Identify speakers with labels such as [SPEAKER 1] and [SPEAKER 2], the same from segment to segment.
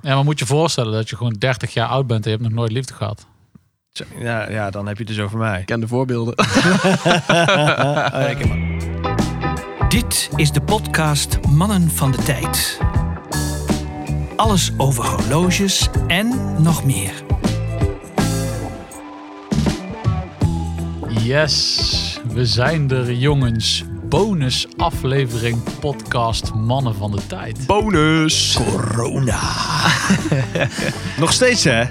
[SPEAKER 1] Ja, maar moet je voorstellen dat je gewoon 30 jaar oud bent en je hebt nog nooit liefde gehad.
[SPEAKER 2] Tja, Ja, ja, dan heb je het dus over mij.
[SPEAKER 3] Ik ken de voorbeelden.
[SPEAKER 2] Oh, ik heb-
[SPEAKER 4] Dit is de podcast Mannen van de Tijd. Alles over horloges en nog meer.
[SPEAKER 1] Yes, we zijn er jongens. Bonus aflevering podcast Mannen van de Tijd.
[SPEAKER 3] Bonus!
[SPEAKER 2] Nog steeds, hè?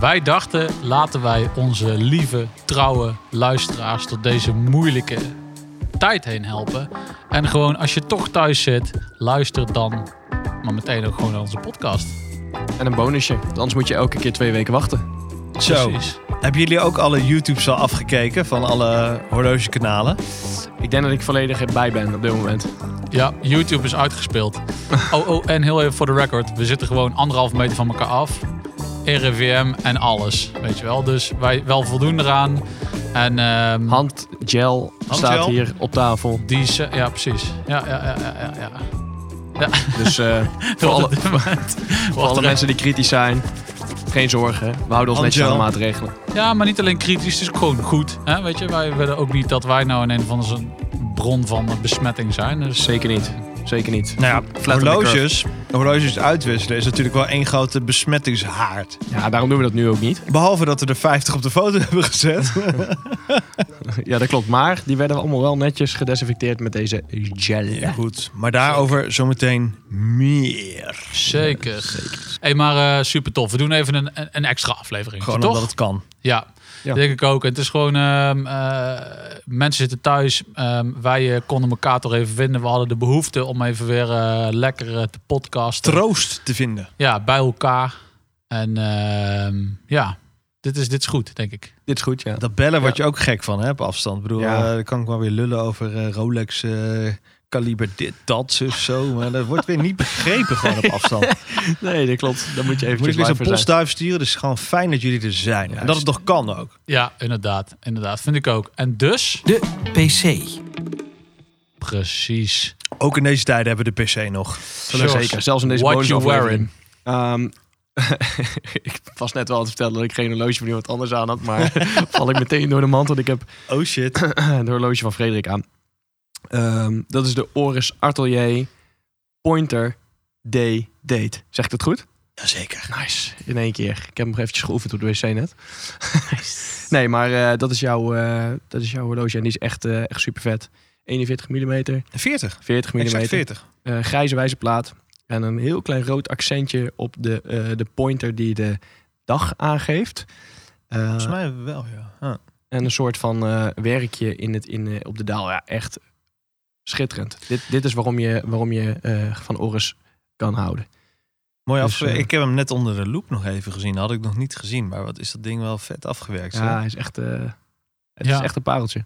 [SPEAKER 1] Wij dachten, laten wij onze lieve, trouwe luisteraars tot deze moeilijke tijd heen helpen. En gewoon, als je toch thuis zit, luister dan maar meteen ook gewoon naar onze podcast.
[SPEAKER 3] En een bonusje. Anders moet je elke keer twee weken wachten.
[SPEAKER 2] Zo.
[SPEAKER 1] Precies.
[SPEAKER 2] Hebben jullie ook alle YouTubes al afgekeken van alle horlogekanalen?
[SPEAKER 3] Ik denk dat ik volledig erbij ben op dit moment.
[SPEAKER 1] Ja, YouTube is uitgespeeld. Oh, oh, en heel even voor de record. We zitten gewoon anderhalf meter van elkaar af. RIVM en alles, weet je wel. Dus wij wel voldoen eraan. En ehm,
[SPEAKER 3] Handgel staat
[SPEAKER 2] Handgel?
[SPEAKER 3] hier op tafel.
[SPEAKER 1] die... se- Ja, precies. Ja, ja, ja, ja, ja. ja.
[SPEAKER 3] Dus eh, voor alle,
[SPEAKER 1] Op dit moment
[SPEAKER 3] voor
[SPEAKER 1] wordt
[SPEAKER 3] alle
[SPEAKER 1] er-
[SPEAKER 3] mensen die kritisch zijn, geen zorgen. We houden ons netjes aan de
[SPEAKER 2] Handgel.
[SPEAKER 3] maatregelen.
[SPEAKER 1] Ja, maar niet alleen kritisch, het is ook gewoon goed. Hè? Weet je, wij willen ook niet dat wij nou in een of andere zo'n bron van besmetting zijn. Dus
[SPEAKER 3] Zeker niet. Zeker niet.
[SPEAKER 2] Nou ja,
[SPEAKER 3] on the
[SPEAKER 2] horloges, horloges uitwisselen is natuurlijk wel één grote besmettingshaard.
[SPEAKER 3] Ja, daarom doen we dat nu ook niet.
[SPEAKER 2] Behalve dat we er 50 op de foto hebben gezet.
[SPEAKER 3] Ja, dat klopt. Maar die werden allemaal wel netjes gedesinfecteerd met deze gel.
[SPEAKER 2] Ja, goed. Maar daarover zometeen meer.
[SPEAKER 1] zeker. hey, maar eh, super tof. We doen even een, een- een extra aflevering.
[SPEAKER 2] Gewoon
[SPEAKER 1] toch?
[SPEAKER 2] omdat het kan.
[SPEAKER 1] Ja,
[SPEAKER 3] Ja.
[SPEAKER 1] denk ik ook. Het is gewoon, ehm, eh, mensen zitten thuis. Ehm, wij eh, konden elkaar toch even vinden. We hadden de behoefte om even weer eh, lekker eh, te podcasten.
[SPEAKER 2] Troost te vinden.
[SPEAKER 1] ja, bij elkaar. En ehm, ja, dit is, dit is goed, denk ik.
[SPEAKER 3] Dit is goed, ja.
[SPEAKER 2] Dat bellen word je ook gek van, hè, op afstand. Ik bedoel,
[SPEAKER 3] Ja.
[SPEAKER 2] eh, dan kan ik wel weer lullen over eh, Rolex... eh, Kaliber dit, dat, zus, zo. Maar dat wordt weer niet begrepen gewoon op afstand.
[SPEAKER 3] Nee, dat klopt. Dan moet je
[SPEAKER 2] Moet ik
[SPEAKER 3] eventjes
[SPEAKER 2] weer zo'n
[SPEAKER 3] live voor zijn.
[SPEAKER 2] postduif sturen? Dus gewoon fijn dat jullie er zijn. En dat het nog kan ook.
[SPEAKER 1] Ja, inderdaad. Inderdaad, vind ik ook. En dus...
[SPEAKER 4] De PC.
[SPEAKER 1] Precies.
[SPEAKER 2] Ook in deze tijden hebben we de PC nog.
[SPEAKER 1] Sure.
[SPEAKER 3] Zeker, zelfs in deze
[SPEAKER 1] What you
[SPEAKER 3] bonusaflevering.
[SPEAKER 1] wearing?
[SPEAKER 3] Ehm, ik was net wel aan het vertellen dat ik geen horloge van iemand anders aan had. Maar val ik meteen door de mand, want ik heb
[SPEAKER 2] Oh shit.
[SPEAKER 3] een horloge van Frederik aan. Ehm, dat is de Oris Atelier Pointer D Date. Zeg ik dat goed?
[SPEAKER 2] Jazeker.
[SPEAKER 3] Nice. In één keer. Ik heb hem nog eventjes geoefend op de wc net. nee, maar eh, dat, is jouw, eh, dat is jouw horloge en die is echt, eh, echt super vet. 41 mm,
[SPEAKER 2] 40.
[SPEAKER 3] 40 mm.
[SPEAKER 2] Exact 40.
[SPEAKER 3] eh, grijze wijzerplaat. En een heel klein rood accentje op de, eh, de pointer die de dag aangeeft. Eh,
[SPEAKER 2] Volgens mij wel, ja. Ah.
[SPEAKER 3] en een soort van eh, werkje in het, in, eh, op de daal. Ja, echt schitterend. Dit, dit is waarom je, waarom je eh, van Oris kan houden.
[SPEAKER 2] Mooi
[SPEAKER 3] Dus,
[SPEAKER 2] afgewerkt.
[SPEAKER 3] eh,
[SPEAKER 2] ik heb hem net onder de loep nog even gezien. Had ik nog niet gezien. Maar wat is dat ding wel vet afgewerkt.
[SPEAKER 3] Ja,
[SPEAKER 2] Ja.
[SPEAKER 3] hij is echt, eh, het
[SPEAKER 1] Ja.
[SPEAKER 3] is echt een pareltje.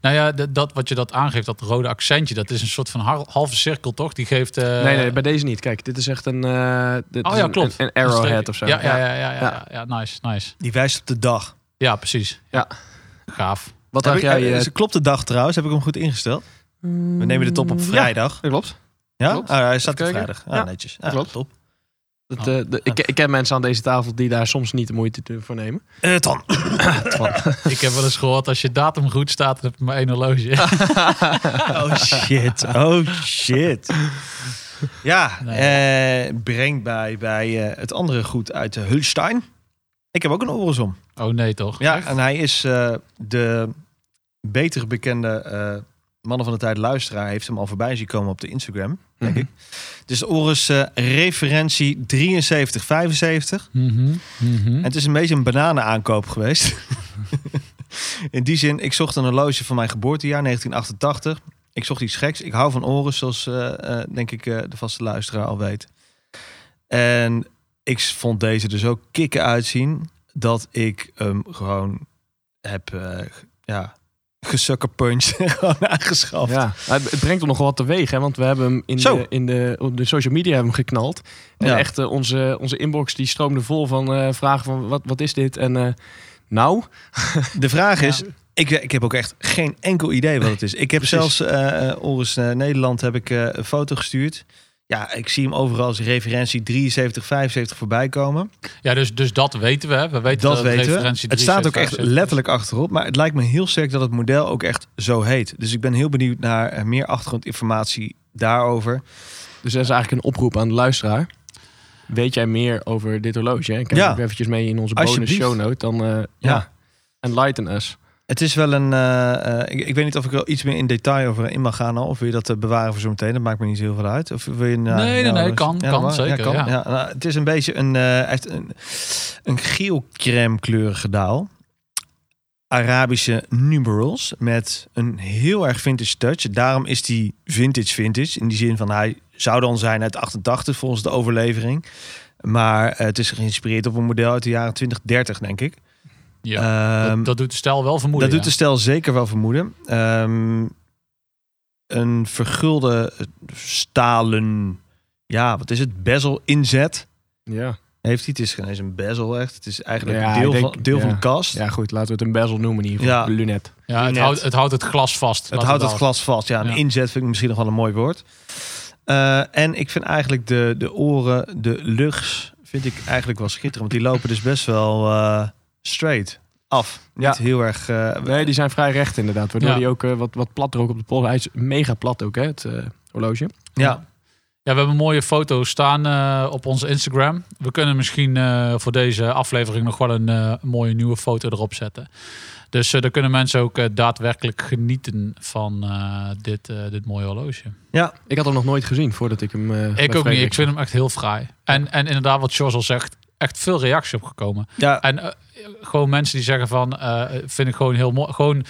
[SPEAKER 1] Nou ja, d- dat wat je dat aangeeft, dat rode accentje, dat is een soort van har- halve cirkel, toch? Die geeft. eh,
[SPEAKER 3] nee, nee, bij deze niet. Kijk, dit is echt een, eh dit
[SPEAKER 1] Oh
[SPEAKER 3] is
[SPEAKER 1] ja,
[SPEAKER 3] een-
[SPEAKER 1] klopt.
[SPEAKER 3] een, een
[SPEAKER 1] een
[SPEAKER 3] arrowhead
[SPEAKER 1] streepje.
[SPEAKER 3] of zo.
[SPEAKER 1] Ja, ja, ja, ja, ja,
[SPEAKER 3] Ja.
[SPEAKER 1] ja, ja, nice, nice.
[SPEAKER 2] Die wijst op de dag.
[SPEAKER 1] Ja, precies.
[SPEAKER 3] Ja.
[SPEAKER 1] Gaaf.
[SPEAKER 3] Wat
[SPEAKER 2] Heb
[SPEAKER 3] dacht
[SPEAKER 2] ik,
[SPEAKER 3] jij?
[SPEAKER 2] eh,
[SPEAKER 3] eh,
[SPEAKER 2] ze klopt de dag trouwens. Heb ik hem goed ingesteld? We nemen de top op
[SPEAKER 3] Mm, Ja,
[SPEAKER 2] vrijdag.
[SPEAKER 3] dat klopt.
[SPEAKER 2] Ja?
[SPEAKER 3] klopt.
[SPEAKER 2] Ah, hij staat op
[SPEAKER 3] Even kijken.
[SPEAKER 2] vrijdag. Ah,
[SPEAKER 3] Ja,
[SPEAKER 2] netjes. Ah,
[SPEAKER 3] klopt.
[SPEAKER 2] Top.
[SPEAKER 3] Dat,
[SPEAKER 1] Oh.
[SPEAKER 3] eh, de- ik, ik ken mensen aan deze tafel die daar soms niet de moeite voor nemen.
[SPEAKER 2] Eh, dan.
[SPEAKER 1] Ik heb wel eens gehoord, als je datum goed staat, dan heb je maar één horloge.
[SPEAKER 2] Oh shit, oh shit. Ja,
[SPEAKER 3] Nou
[SPEAKER 2] eh, brengt bij, bij eh, het andere goed uit de Hulstein. Ik heb ook een Oris om.
[SPEAKER 1] Oh nee, toch?
[SPEAKER 2] Ja,
[SPEAKER 1] Echt?
[SPEAKER 2] en hij is eh, de beter bekende eh, Mannen van de Tijd luisteraar. Heeft hem al voorbij zien komen op de Instagram, denk
[SPEAKER 3] Mhm.
[SPEAKER 2] ik. Dus de Oris eh, referentie 7375.
[SPEAKER 1] Mhm, mhm.
[SPEAKER 2] En het is een beetje een bananenaankoop geweest. In die zin, ik zocht een horloge van mijn geboortejaar, 1988. Ik zocht iets geks. Ik hou van oren, zoals eh, eh, denk ik eh, de vaste luisteraar al weet. En ik vond deze er zo kicken uitzien dat ik hem gewoon heb eh, g- ja, gesukkerpunched en gewoon aangeschaft.
[SPEAKER 3] Ja, maar het het brengt er nog wat teweeg, hè? want we hebben hem in,
[SPEAKER 2] Zo.
[SPEAKER 3] de, in de, op de social media hebben we hem geknald. En
[SPEAKER 2] Ja.
[SPEAKER 3] echt, eh, onze, onze inbox die stroomde vol van eh, vragen van wat, wat is dit? En eh, nou,
[SPEAKER 2] De vraag is, ik, eh, ik heb ook echt geen enkel idee wat het is. Ik heb
[SPEAKER 3] precies.
[SPEAKER 2] zelfs, eh eh, Oris eh, Nederland heb ik eh, een foto gestuurd. Ja, ik zie hem overal als referentie 73, 75 voorbij komen.
[SPEAKER 1] Ja, dus, dus dat weten we. hè. We weten
[SPEAKER 2] Dat
[SPEAKER 1] dat het
[SPEAKER 2] weten we.
[SPEAKER 1] referentie
[SPEAKER 2] Het staat ook echt
[SPEAKER 1] 375 is.
[SPEAKER 2] letterlijk achterop. Maar het lijkt me heel sterk dat het model ook echt zo heet. Dus ik ben heel benieuwd naar eh, meer achtergrondinformatie daarover.
[SPEAKER 3] Dus dat is eigenlijk een oproep aan de luisteraar. Weet jij meer over dit horloge? hè? Kijk
[SPEAKER 2] Ja.
[SPEAKER 3] ook eventjes mee in onze bonus
[SPEAKER 2] Alsjeblieft.
[SPEAKER 3] show note. Dan, eh, ja.
[SPEAKER 2] Ja.
[SPEAKER 3] Enlighten us.
[SPEAKER 2] Het is wel een... eh, eh, ik, ik weet niet of ik er iets meer in detail over in mag gaan al. Of wil je dat eh, bewaren voor zometeen? Dat maakt me niet zo heel veel uit. Of wil je, nou-
[SPEAKER 1] Nee, nee,
[SPEAKER 2] nou,
[SPEAKER 1] nee,
[SPEAKER 2] dus-
[SPEAKER 1] kan,
[SPEAKER 2] Ja,
[SPEAKER 1] kan,
[SPEAKER 2] nou,
[SPEAKER 1] zeker, ja.
[SPEAKER 2] nou, het is een beetje een... eh, hij heeft een, een geel-crème kleurig gedaal. Arabische numerals met een heel erg vintage touch. Daarom is die vintage vintage. In die zin van hij zou dan zijn uit 88 volgens de overlevering. Maar eh, het is geïnspireerd op een model uit de jaren 2030, denk ik.
[SPEAKER 1] Ja,
[SPEAKER 2] Ehm,
[SPEAKER 1] dat, dat doet de stijl wel vermoeden.
[SPEAKER 2] dat
[SPEAKER 1] ja.
[SPEAKER 2] doet de stijl zeker wel vermoeden. Ehm, een vergulde eh, stalen, ja, wat is het? Bezel inzet
[SPEAKER 3] Ja.
[SPEAKER 2] heeft hij. Het is geen eens een bezel echt. Het is eigenlijk
[SPEAKER 3] Ja,
[SPEAKER 2] deel,
[SPEAKER 3] ik denk-
[SPEAKER 2] van, deel van
[SPEAKER 3] ja.
[SPEAKER 2] de kast.
[SPEAKER 3] ja, goed. Laten we het een bezel noemen in ieder geval.
[SPEAKER 2] Ja.
[SPEAKER 3] Lunet.
[SPEAKER 1] ja, het,
[SPEAKER 2] net.
[SPEAKER 1] houdt, het houdt het glas vast.
[SPEAKER 2] Het
[SPEAKER 1] laten
[SPEAKER 2] houdt
[SPEAKER 1] we
[SPEAKER 2] het glas vast. Ja, een
[SPEAKER 1] Ja.
[SPEAKER 2] inzet vind ik misschien nog wel een mooi woord. Eh, en ik vind eigenlijk de, de oren, de lugs, vind ik eigenlijk wel schitterend. Want die lopen dus best wel eh, straight af.
[SPEAKER 3] Ja.
[SPEAKER 2] Niet heel erg... eh,
[SPEAKER 3] Nee, die zijn vrij recht inderdaad. Waardoor
[SPEAKER 1] Ja.
[SPEAKER 3] die ook eh, wat, wat platter ook op de polder. Hij is mega plat ook, hè, het eh, horloge.
[SPEAKER 2] ja,
[SPEAKER 1] Ja, we hebben een mooie foto staan eh, op onze Instagram. We kunnen misschien eh, voor deze aflevering nog wel een eh, mooie nieuwe foto erop zetten. Dus eh daar kunnen mensen ook eh, daadwerkelijk genieten van eh, dit, eh, dit mooie horloge.
[SPEAKER 3] Ik had hem nog nooit gezien voordat ik hem... eh, bij
[SPEAKER 1] Ik ook niet.
[SPEAKER 3] Frederik
[SPEAKER 1] Ik vind hem echt heel fraai. En, en inderdaad, wat Jos al zegt, echt veel reacties opgekomen.
[SPEAKER 2] ja,
[SPEAKER 1] En eh, gewoon mensen die zeggen van, eh, vind ik gewoon heel mooi. Gewoon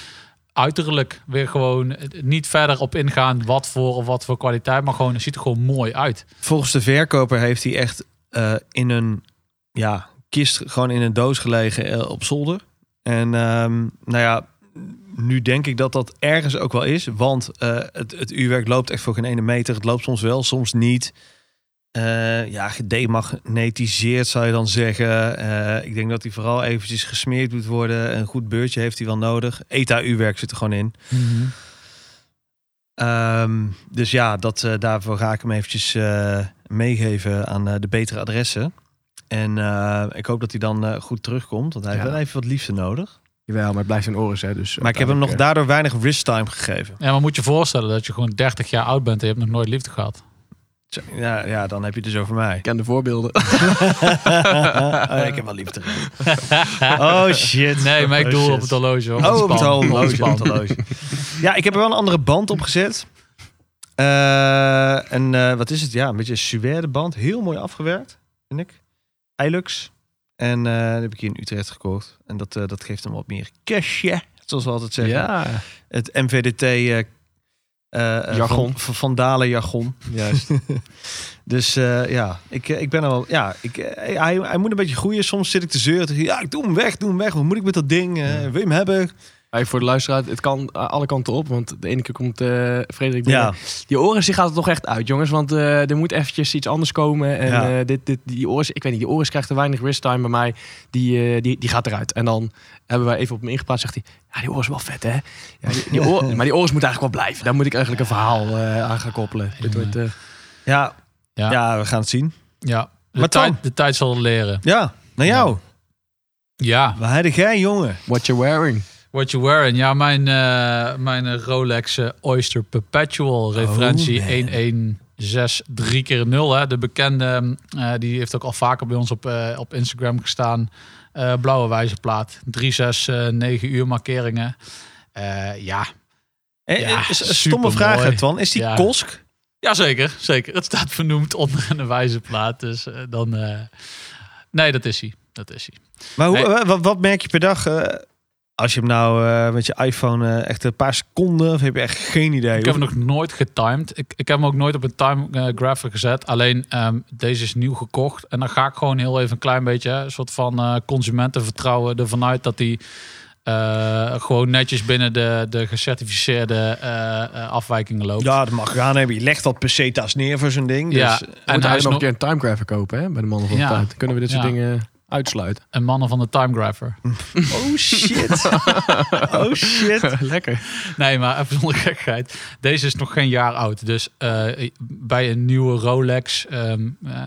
[SPEAKER 1] uiterlijk weer gewoon eh, niet verder op ingaan wat voor of wat voor kwaliteit, maar gewoon het ziet er gewoon mooi uit.
[SPEAKER 2] Volgens de verkoper heeft hij echt eh, in een ja, kist, gewoon in een doos gelegen eh, op zolder. En ehm, nou ja, nu denk ik dat dat ergens ook wel is. Want eh, het, het uurwerk loopt echt voor geen ene meter. Het loopt soms wel, soms niet. Eh, ja, gedemagnetiseerd zou je dan zeggen. Eh, ik denk dat hij vooral eventjes gesmeerd moet worden. Een goed beurtje heeft hij wel nodig. ETA-uurwerk zit er gewoon in. Ehm, dus ja, dat, eh, daarvoor ga ik hem eventjes eh, meegeven aan eh, de betere adressen. En eh, ik hoop dat hij dan eh, goed terugkomt, want hij heeft
[SPEAKER 3] Ja.
[SPEAKER 2] wel even wat liefde nodig.
[SPEAKER 3] Jawel, maar het blijft in oren, hè. Dus
[SPEAKER 2] Maar ik heb hem nog daardoor weinig wrist time gegeven.
[SPEAKER 1] Ja, maar moet je voorstellen dat je gewoon 30 jaar oud bent en je hebt nog nooit liefde gehad.
[SPEAKER 2] Zo, Ja, ja, dan heb je het dus over mij.
[SPEAKER 3] eh, Ik ken de voorbeelden.
[SPEAKER 2] Oh, ik heb wel liefde. gegeven. Oh shit.
[SPEAKER 1] Nee, maar ik doe
[SPEAKER 2] shit.
[SPEAKER 1] op het horloge. hoor.
[SPEAKER 2] Oh, op het
[SPEAKER 1] Ontspan,
[SPEAKER 2] horloge.
[SPEAKER 1] ontspan.
[SPEAKER 2] op het horloge. Ja, ik heb er wel een andere band op gezet. Eh, en eh, wat is het? Ja, een beetje een suède band. Heel mooi afgewerkt, vind ik. Ilux. En eh, die heb ik hier in Utrecht gekocht. En dat, eh, dat geeft hem wat meer cashje, zoals we altijd zeggen.
[SPEAKER 3] ja.
[SPEAKER 2] Het MVDT... eh, eh, eh,
[SPEAKER 3] Jargon.
[SPEAKER 2] Van, van, van Dalen jargon.
[SPEAKER 3] Juist.
[SPEAKER 2] Dus eh, ja, ik, eh, ik ben er wel... Ja, ik, eh, hij, hij moet een beetje groeien. Soms zit ik te zeuren. tegen- Ja, ik doe hem weg, doe hem weg. Wat moet ik met dat ding? Eh, Wil je hem hebben?
[SPEAKER 3] Hey, voor de luisteraar, het kan eh, alle kanten op. Want de ene keer komt eh, Frederik binnen.
[SPEAKER 2] Ja,
[SPEAKER 3] Die oren zich gaat het toch echt uit, jongens. Want eh, er moet eventjes iets anders komen. En
[SPEAKER 2] Ja.
[SPEAKER 3] eh, dit, dit, die oren, ik weet niet, die oren krijgt te weinig wrist time bij mij. Die, eh, die, die gaat eruit. En dan hebben wij even op hem ingepraat. Zegt hij, ja, die oren is wel vet, hè? Ja, die, die oor- maar die oren moet eigenlijk wel blijven. Daar moet ik eigenlijk een verhaal eh, aan gaan koppelen. Dit wordt, eh,
[SPEAKER 2] ja,
[SPEAKER 1] Ja, ja.
[SPEAKER 2] ja, we gaan het zien.
[SPEAKER 1] De,
[SPEAKER 2] Maar
[SPEAKER 1] tijd,
[SPEAKER 2] Tom-
[SPEAKER 1] de tijd zal het leren.
[SPEAKER 2] Ja, naar jou.
[SPEAKER 1] Ja,
[SPEAKER 2] Waar heb jij, jongen?
[SPEAKER 3] what you're wearing.
[SPEAKER 1] what you wearing. Ja, mijn, eh, mijn eh, Rolex eh, Oyster Perpetual referentie
[SPEAKER 2] man.
[SPEAKER 1] 1163 keer 0. Hè. De bekende, eh, die heeft ook al vaker bij ons op, eh, op Instagram gestaan. Eh, blauwe wijzerplaat. 3, 6, 9 uur markeringen. Eh, ja,
[SPEAKER 2] Eh,
[SPEAKER 1] Ja,
[SPEAKER 2] eh, s- stomme
[SPEAKER 1] supermooi.
[SPEAKER 2] vraag, hè, Twan. Is die
[SPEAKER 1] Ja.
[SPEAKER 2] kosk?
[SPEAKER 1] Jazeker, zeker. Het staat vernoemd onder een wijze plaat. Dus eh, dan. eh, Nee, dat is hij. Dat is hij.
[SPEAKER 2] Maar hoe,
[SPEAKER 1] Nee.
[SPEAKER 2] wa- wat, wat merk je per dag? eh, als je hem nou eh, met je iPhone eh, echt een paar seconden... of heb je echt geen idee?
[SPEAKER 1] Ik heb hem nog nooit getimed. Ik, ik heb hem ook nooit op een time eh, graphic gezet. Alleen ehm, deze is nieuw gekocht. En dan ga ik gewoon heel even een klein beetje. hè, Een soort van eh, consumentenvertrouwen ervan uit dat die. eh, gewoon netjes binnen de, de gecertificeerde eh, eh, afwijkingen loopt.
[SPEAKER 2] Ja, dat mag je aan hebben. Je legt dat pesetas neer voor zo'n ding.
[SPEAKER 1] Ja,
[SPEAKER 2] Dus,
[SPEAKER 1] en
[SPEAKER 3] En moet
[SPEAKER 1] hij
[SPEAKER 3] hij nog
[SPEAKER 1] is
[SPEAKER 3] een
[SPEAKER 1] nog,
[SPEAKER 3] keer een timecraft verkopen, hè? Bij de mannen van de
[SPEAKER 1] Ja.
[SPEAKER 3] tijd. Kunnen we dit soort
[SPEAKER 1] Ja.
[SPEAKER 3] dingen... Uitsluiten.
[SPEAKER 1] En mannen van de Timegrapher.
[SPEAKER 2] Oh shit. oh shit.
[SPEAKER 3] Lekker.
[SPEAKER 1] Nee, maar even zonder gekheid. Deze is nog geen jaar oud. Dus eh, bij een nieuwe Rolex... ehm, eh,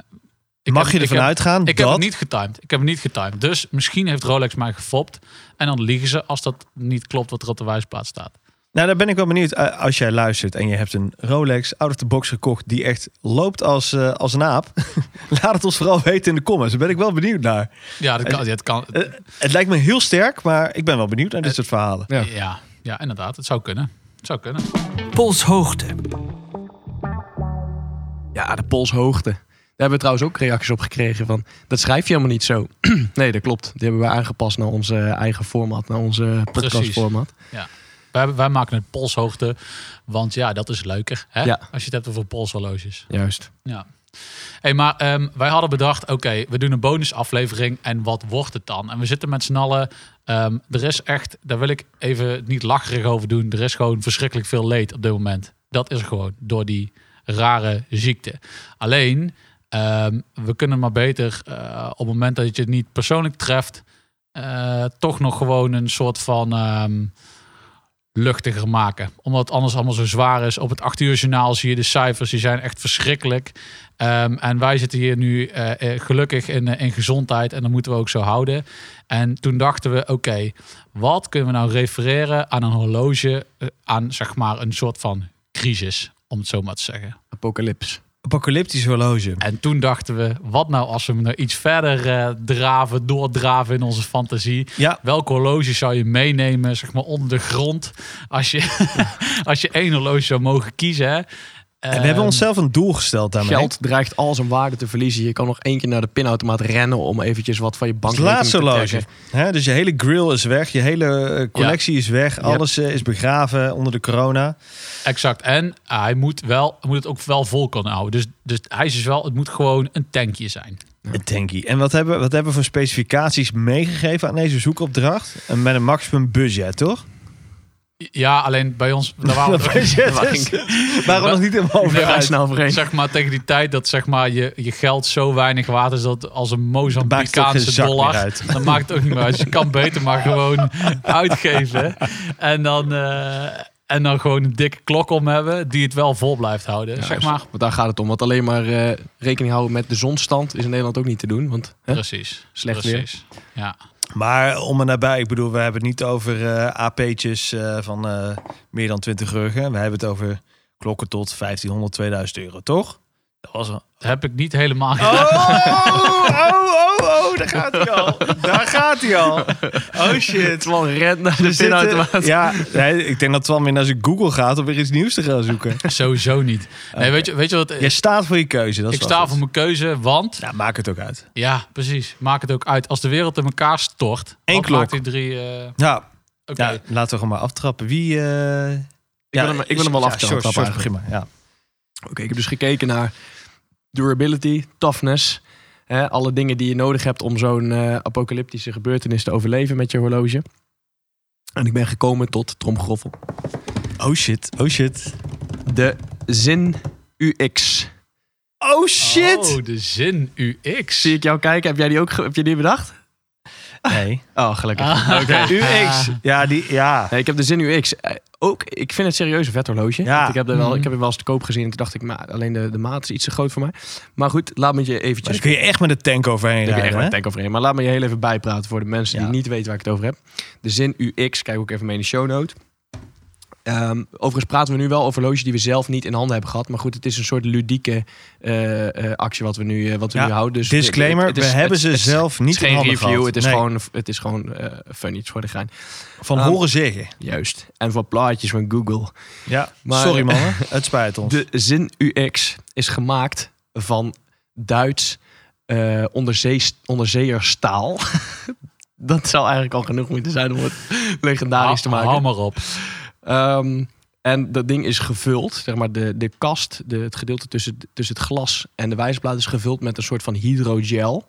[SPEAKER 1] ik
[SPEAKER 2] Mag
[SPEAKER 1] heb-
[SPEAKER 2] je
[SPEAKER 1] ik
[SPEAKER 2] ervan
[SPEAKER 1] heb-
[SPEAKER 2] uitgaan
[SPEAKER 1] Ik
[SPEAKER 2] dat...
[SPEAKER 1] heb het niet getimed. Ik heb het niet getimed. Dus misschien heeft Rolex mij gefopt. En dan liegen ze als dat niet klopt wat er op de wijsplaats staat.
[SPEAKER 2] Nou, daar ben ik wel benieuwd. Eh, als jij luistert en je hebt een Rolex out of the box gekocht... die echt loopt als, eh, als een aap... laat het ons vooral weten in de comments. Daar ben ik wel benieuwd naar.
[SPEAKER 1] Ja, dat kan. ja, Het kan
[SPEAKER 2] Eh, het lijkt me heel sterk, maar ik ben wel benieuwd naar dit soort verhalen.
[SPEAKER 3] ja.
[SPEAKER 1] ja, ja, inderdaad. Het zou kunnen. Het zou kunnen.
[SPEAKER 4] Polshoogte.
[SPEAKER 3] Ja, de polshoogte. Daar hebben we trouwens ook reacties op gekregen van... dat schrijf je helemaal niet zo. nee, dat klopt. Die hebben we aangepast naar onze eigen format. Naar onze podcastformat.
[SPEAKER 1] Wij, wij maken het polshoogte, want ja, dat is leuker. Hè?
[SPEAKER 3] Ja.
[SPEAKER 1] Als je het hebt over polshorloges.
[SPEAKER 3] Juist.
[SPEAKER 1] Ja. Hey, maar ehm, wij hadden bedacht, oké, we doen een bonusaflevering en wat wordt het dan? En we zitten met z'n allen, ehm, er is echt, daar wil ik even niet lacherig over doen, er is gewoon verschrikkelijk veel leed op dit moment. Dat is er gewoon, door die rare ziekte. Alleen, ehm, we kunnen maar beter eh, op het moment dat je het niet persoonlijk treft, eh, toch nog gewoon een soort van ehm, luchtiger maken. Omdat het anders allemaal zo zwaar is. Op het 8 uur journaal zie je de cijfers, die zijn echt verschrikkelijk. Ehm, en wij zitten hier nu eh, eh, gelukkig in, eh, in gezondheid en dat moeten we ook zo houden. En toen dachten we, oké, wat kunnen we nou refereren aan een horloge, eh, aan zeg maar een soort van crisis, om het zo maar te zeggen.
[SPEAKER 3] Apocalypse.
[SPEAKER 2] Apocalyptisch horloge.
[SPEAKER 1] En toen dachten we, wat nou als we hem nou iets verder eh, draven, doordraven in onze fantasie.
[SPEAKER 2] Ja,
[SPEAKER 1] Welke horloge zou je meenemen, zeg maar, onder de grond? Als je, als je één horloge zou mogen kiezen. Hè? Ehm,
[SPEAKER 2] en we hebben onszelf een doel gesteld daarmee.
[SPEAKER 3] Geld dreigt al zijn waarde te verliezen. Je kan nog één keer naar de pinautomaat rennen... om eventjes wat van je
[SPEAKER 2] Het
[SPEAKER 3] bankrekening te
[SPEAKER 2] laatste
[SPEAKER 3] trekken.
[SPEAKER 2] horloge. Hè, dus je hele grill is weg. Je hele eh, collectie is weg. Alles eh, is begraven onder de corona.
[SPEAKER 1] Exact. En hij moet, wel, hij moet het ook wel vol kunnen houden. Dus, dus hij is dus wel, het moet gewoon een tankje zijn.
[SPEAKER 2] Een Eh, tankie. En wat hebben, wat hebben we voor specificaties meegegeven aan deze zoekopdracht? En met een maximum budget, toch?
[SPEAKER 1] Ja, alleen bij ons, daar waren we
[SPEAKER 2] Dat
[SPEAKER 1] het ook-
[SPEAKER 2] budget
[SPEAKER 3] waar
[SPEAKER 2] is-
[SPEAKER 3] ging-
[SPEAKER 2] waren we nog niet helemaal over
[SPEAKER 3] Daar ga je
[SPEAKER 2] uit.
[SPEAKER 3] snel overheen.
[SPEAKER 1] zeg maar tegen die tijd dat zeg maar, je, je geld zo weinig waard is dat als een
[SPEAKER 2] Het maakt toch geen
[SPEAKER 1] Mozambicaanse
[SPEAKER 2] zak meer
[SPEAKER 1] dollar.
[SPEAKER 2] uit.
[SPEAKER 1] Dan maakt het ook niet meer uit. Dus je kan beter maar gewoon uitgeven. En dan, eh, en dan gewoon een dikke klok om hebben die het wel vol blijft houden.
[SPEAKER 3] Ja, dus-
[SPEAKER 1] zeg maar.
[SPEAKER 3] Want daar gaat het om. Want alleen maar eh, rekening houden met de zonstand is in Nederland ook niet te doen. Want hè?
[SPEAKER 1] Precies.
[SPEAKER 3] Slecht
[SPEAKER 1] Precies. Ja.
[SPEAKER 2] Maar om en nabij, ik bedoel, we hebben het niet over eh AP'tjes eh, van eh, meer dan 20 ruggen. We hebben het over klokken tot 1500, 2000 euro, toch? Dat was een...
[SPEAKER 1] Dat heb ik niet helemaal
[SPEAKER 2] Oh, oh, oh, oh, daar gaat hij al. Daar gaat hij al. Oh shit.
[SPEAKER 3] Twan rent naar de
[SPEAKER 2] Er zitten-
[SPEAKER 3] pinautomaat.
[SPEAKER 2] ja, nee, ik denk dat Twan weer naar zijn Google gaat om weer iets nieuws te gaan zoeken.
[SPEAKER 1] Sowieso niet. Nee, weet, je, weet je wat?
[SPEAKER 2] Jij staat voor je keuze. Dat is
[SPEAKER 1] ik
[SPEAKER 2] wel
[SPEAKER 1] sta
[SPEAKER 2] goed.
[SPEAKER 1] voor mijn keuze, want...
[SPEAKER 2] Nou, maak het ook uit.
[SPEAKER 1] Ja, precies. Maak het ook uit. Als de wereld in elkaar stort...
[SPEAKER 2] Eén
[SPEAKER 1] wat
[SPEAKER 2] klok.
[SPEAKER 1] maakt die drie... eh, Oké.
[SPEAKER 2] Nou, nou, laten we gewoon maar aftrappen. Wie... eh,
[SPEAKER 3] wil hem- ik wil hem wel
[SPEAKER 2] ja, George,
[SPEAKER 3] aftrappen,
[SPEAKER 2] George,
[SPEAKER 3] eigenlijk.
[SPEAKER 2] begin maar, ja.
[SPEAKER 3] Oké, ik heb dus gekeken naar durability, toughness. Hè, alle dingen die je nodig hebt om zo'n eh, apocalyptische gebeurtenis te overleven met je horloge. En ik ben gekomen tot tromgroffel.
[SPEAKER 2] Oh shit, oh shit.
[SPEAKER 3] De Zin UX.
[SPEAKER 2] Oh shit!
[SPEAKER 1] Oh, de zin UX.
[SPEAKER 3] Zie ik jou kijken. Heb jij die ook ge- heb je die bedacht?
[SPEAKER 2] Nee.
[SPEAKER 3] Oh, gelukkig.
[SPEAKER 1] Ah.
[SPEAKER 3] Oké.
[SPEAKER 2] UX. Ja, die, ja.
[SPEAKER 3] Nee, ik heb de Zin UX. eh, Ook, ik vind het serieus een vet horloge.
[SPEAKER 2] Ja.
[SPEAKER 3] Want Ik heb er wel,
[SPEAKER 1] Mhm.
[SPEAKER 3] ik heb er wel eens te koop gezien. En toen dacht ik, maar alleen de, de maat is iets te groot voor mij. Maar goed, laat me je
[SPEAKER 2] Maar
[SPEAKER 3] eventjes
[SPEAKER 2] dan kun je echt met de tank overheen
[SPEAKER 3] Ik heb echt
[SPEAKER 2] rijden.
[SPEAKER 3] wel een
[SPEAKER 2] hè?
[SPEAKER 3] tank overheen. Maar laat me je heel even bijpraten voor de mensen
[SPEAKER 2] Ja.
[SPEAKER 3] die niet weten waar ik het over heb. De zin UX, kijk ook even mee in de show note. Ehm, overigens praten we nu wel over horloges die we zelf niet in handen hebben gehad. Maar goed, het is een soort ludieke eh, eh, actie wat we nu, eh, wat we
[SPEAKER 2] Ja,
[SPEAKER 3] nu houden. Dus
[SPEAKER 2] Disclaimer,
[SPEAKER 3] het- het is-
[SPEAKER 2] we hebben
[SPEAKER 3] het-
[SPEAKER 2] ze
[SPEAKER 3] het-
[SPEAKER 2] zelf
[SPEAKER 3] Het
[SPEAKER 2] niet
[SPEAKER 3] is
[SPEAKER 2] in
[SPEAKER 3] geen
[SPEAKER 2] handen
[SPEAKER 3] review,
[SPEAKER 2] gehad.
[SPEAKER 3] het is
[SPEAKER 2] Nee,
[SPEAKER 3] gewoon, het is gewoon eh fun, iets voor de gein.
[SPEAKER 2] Van
[SPEAKER 3] Ehm,
[SPEAKER 2] horen zeggen.
[SPEAKER 3] Juist. En voor plaatjes van Google.
[SPEAKER 2] Ja,
[SPEAKER 3] maar-
[SPEAKER 2] sorry mannen, het spijt ons.
[SPEAKER 3] De Zin UX is gemaakt van Duits eh onderzee, onderzeeërstaal. Dat zou eigenlijk al genoeg moeten zijn om het legendarisch te
[SPEAKER 1] Hou- Hou
[SPEAKER 3] maken.
[SPEAKER 1] maar op.
[SPEAKER 3] Ehm, en dat ding is gevuld, zeg maar de, de kast, de, het gedeelte tussen, tussen het glas en de wijsplaat is gevuld met een soort van hydrogel.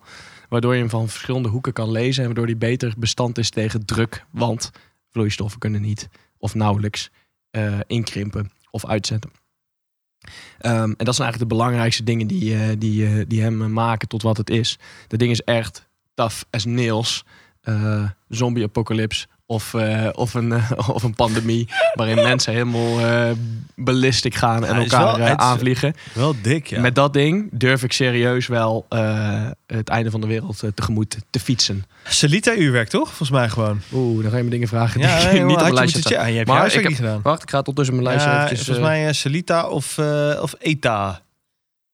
[SPEAKER 3] Waardoor je hem van verschillende hoeken kan lezen en waardoor die beter bestand is tegen druk. Want vloeistoffen kunnen niet of nauwelijks eh, inkrimpen of uitzetten. Ehm, en dat zijn eigenlijk de belangrijkste dingen die, eh, die, eh, die hem eh, maken tot wat het is. Dat ding is echt tough as nails. eh, zombie-apocalypse of, eh, of, een, eh, of een pandemie waarin mensen helemaal eh ballistic gaan en
[SPEAKER 2] Hij is
[SPEAKER 3] elkaar
[SPEAKER 2] wel-
[SPEAKER 3] eh,
[SPEAKER 2] het is-
[SPEAKER 3] aanvliegen.
[SPEAKER 2] Wel dik, ja.
[SPEAKER 3] Met dat ding durf ik serieus wel eh, het einde van de wereld eh, tegemoet te fietsen.
[SPEAKER 2] Celita-uurwerk, toch? Volgens mij gewoon.
[SPEAKER 3] Oeh, dan ga je me dingen vragen die ik
[SPEAKER 2] nee,
[SPEAKER 3] niet
[SPEAKER 2] joh,
[SPEAKER 3] op
[SPEAKER 2] had
[SPEAKER 3] mijn
[SPEAKER 2] je
[SPEAKER 3] lijstje
[SPEAKER 2] moeten
[SPEAKER 3] staan.
[SPEAKER 2] checken. Ja, je hebt je
[SPEAKER 3] Maar
[SPEAKER 2] huiswerk
[SPEAKER 3] ik
[SPEAKER 2] niet gedaan.
[SPEAKER 3] Wacht, ik ga het ondertussen mijn lijstje
[SPEAKER 2] ja,
[SPEAKER 3] eventjes...
[SPEAKER 2] volgens
[SPEAKER 3] eh,
[SPEAKER 2] mij eh, Celita of, eh, of ETA.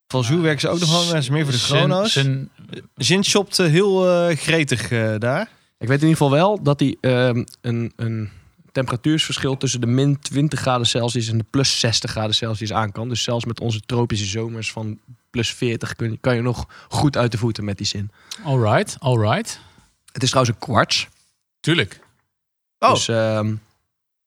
[SPEAKER 2] Van Zoe werken ze ook nog wel, maar dat is meer voor de
[SPEAKER 1] Zin-
[SPEAKER 2] chrono's.
[SPEAKER 1] zin-
[SPEAKER 2] Zin shopt eh, heel eh, gretig eh, daar.
[SPEAKER 3] Ik weet in ieder geval wel dat hij ehm, een, een temperatuursverschil tussen de min 20 graden Celsius en de plus 60 graden Celsius aan kan. Dus zelfs met onze tropische zomers van plus 40 kun, kan je nog goed uit de voeten met die zin.
[SPEAKER 1] Alright, alright.
[SPEAKER 3] Het is trouwens een kwarts.
[SPEAKER 1] Tuurlijk.
[SPEAKER 2] Oh,
[SPEAKER 3] Dus ehm,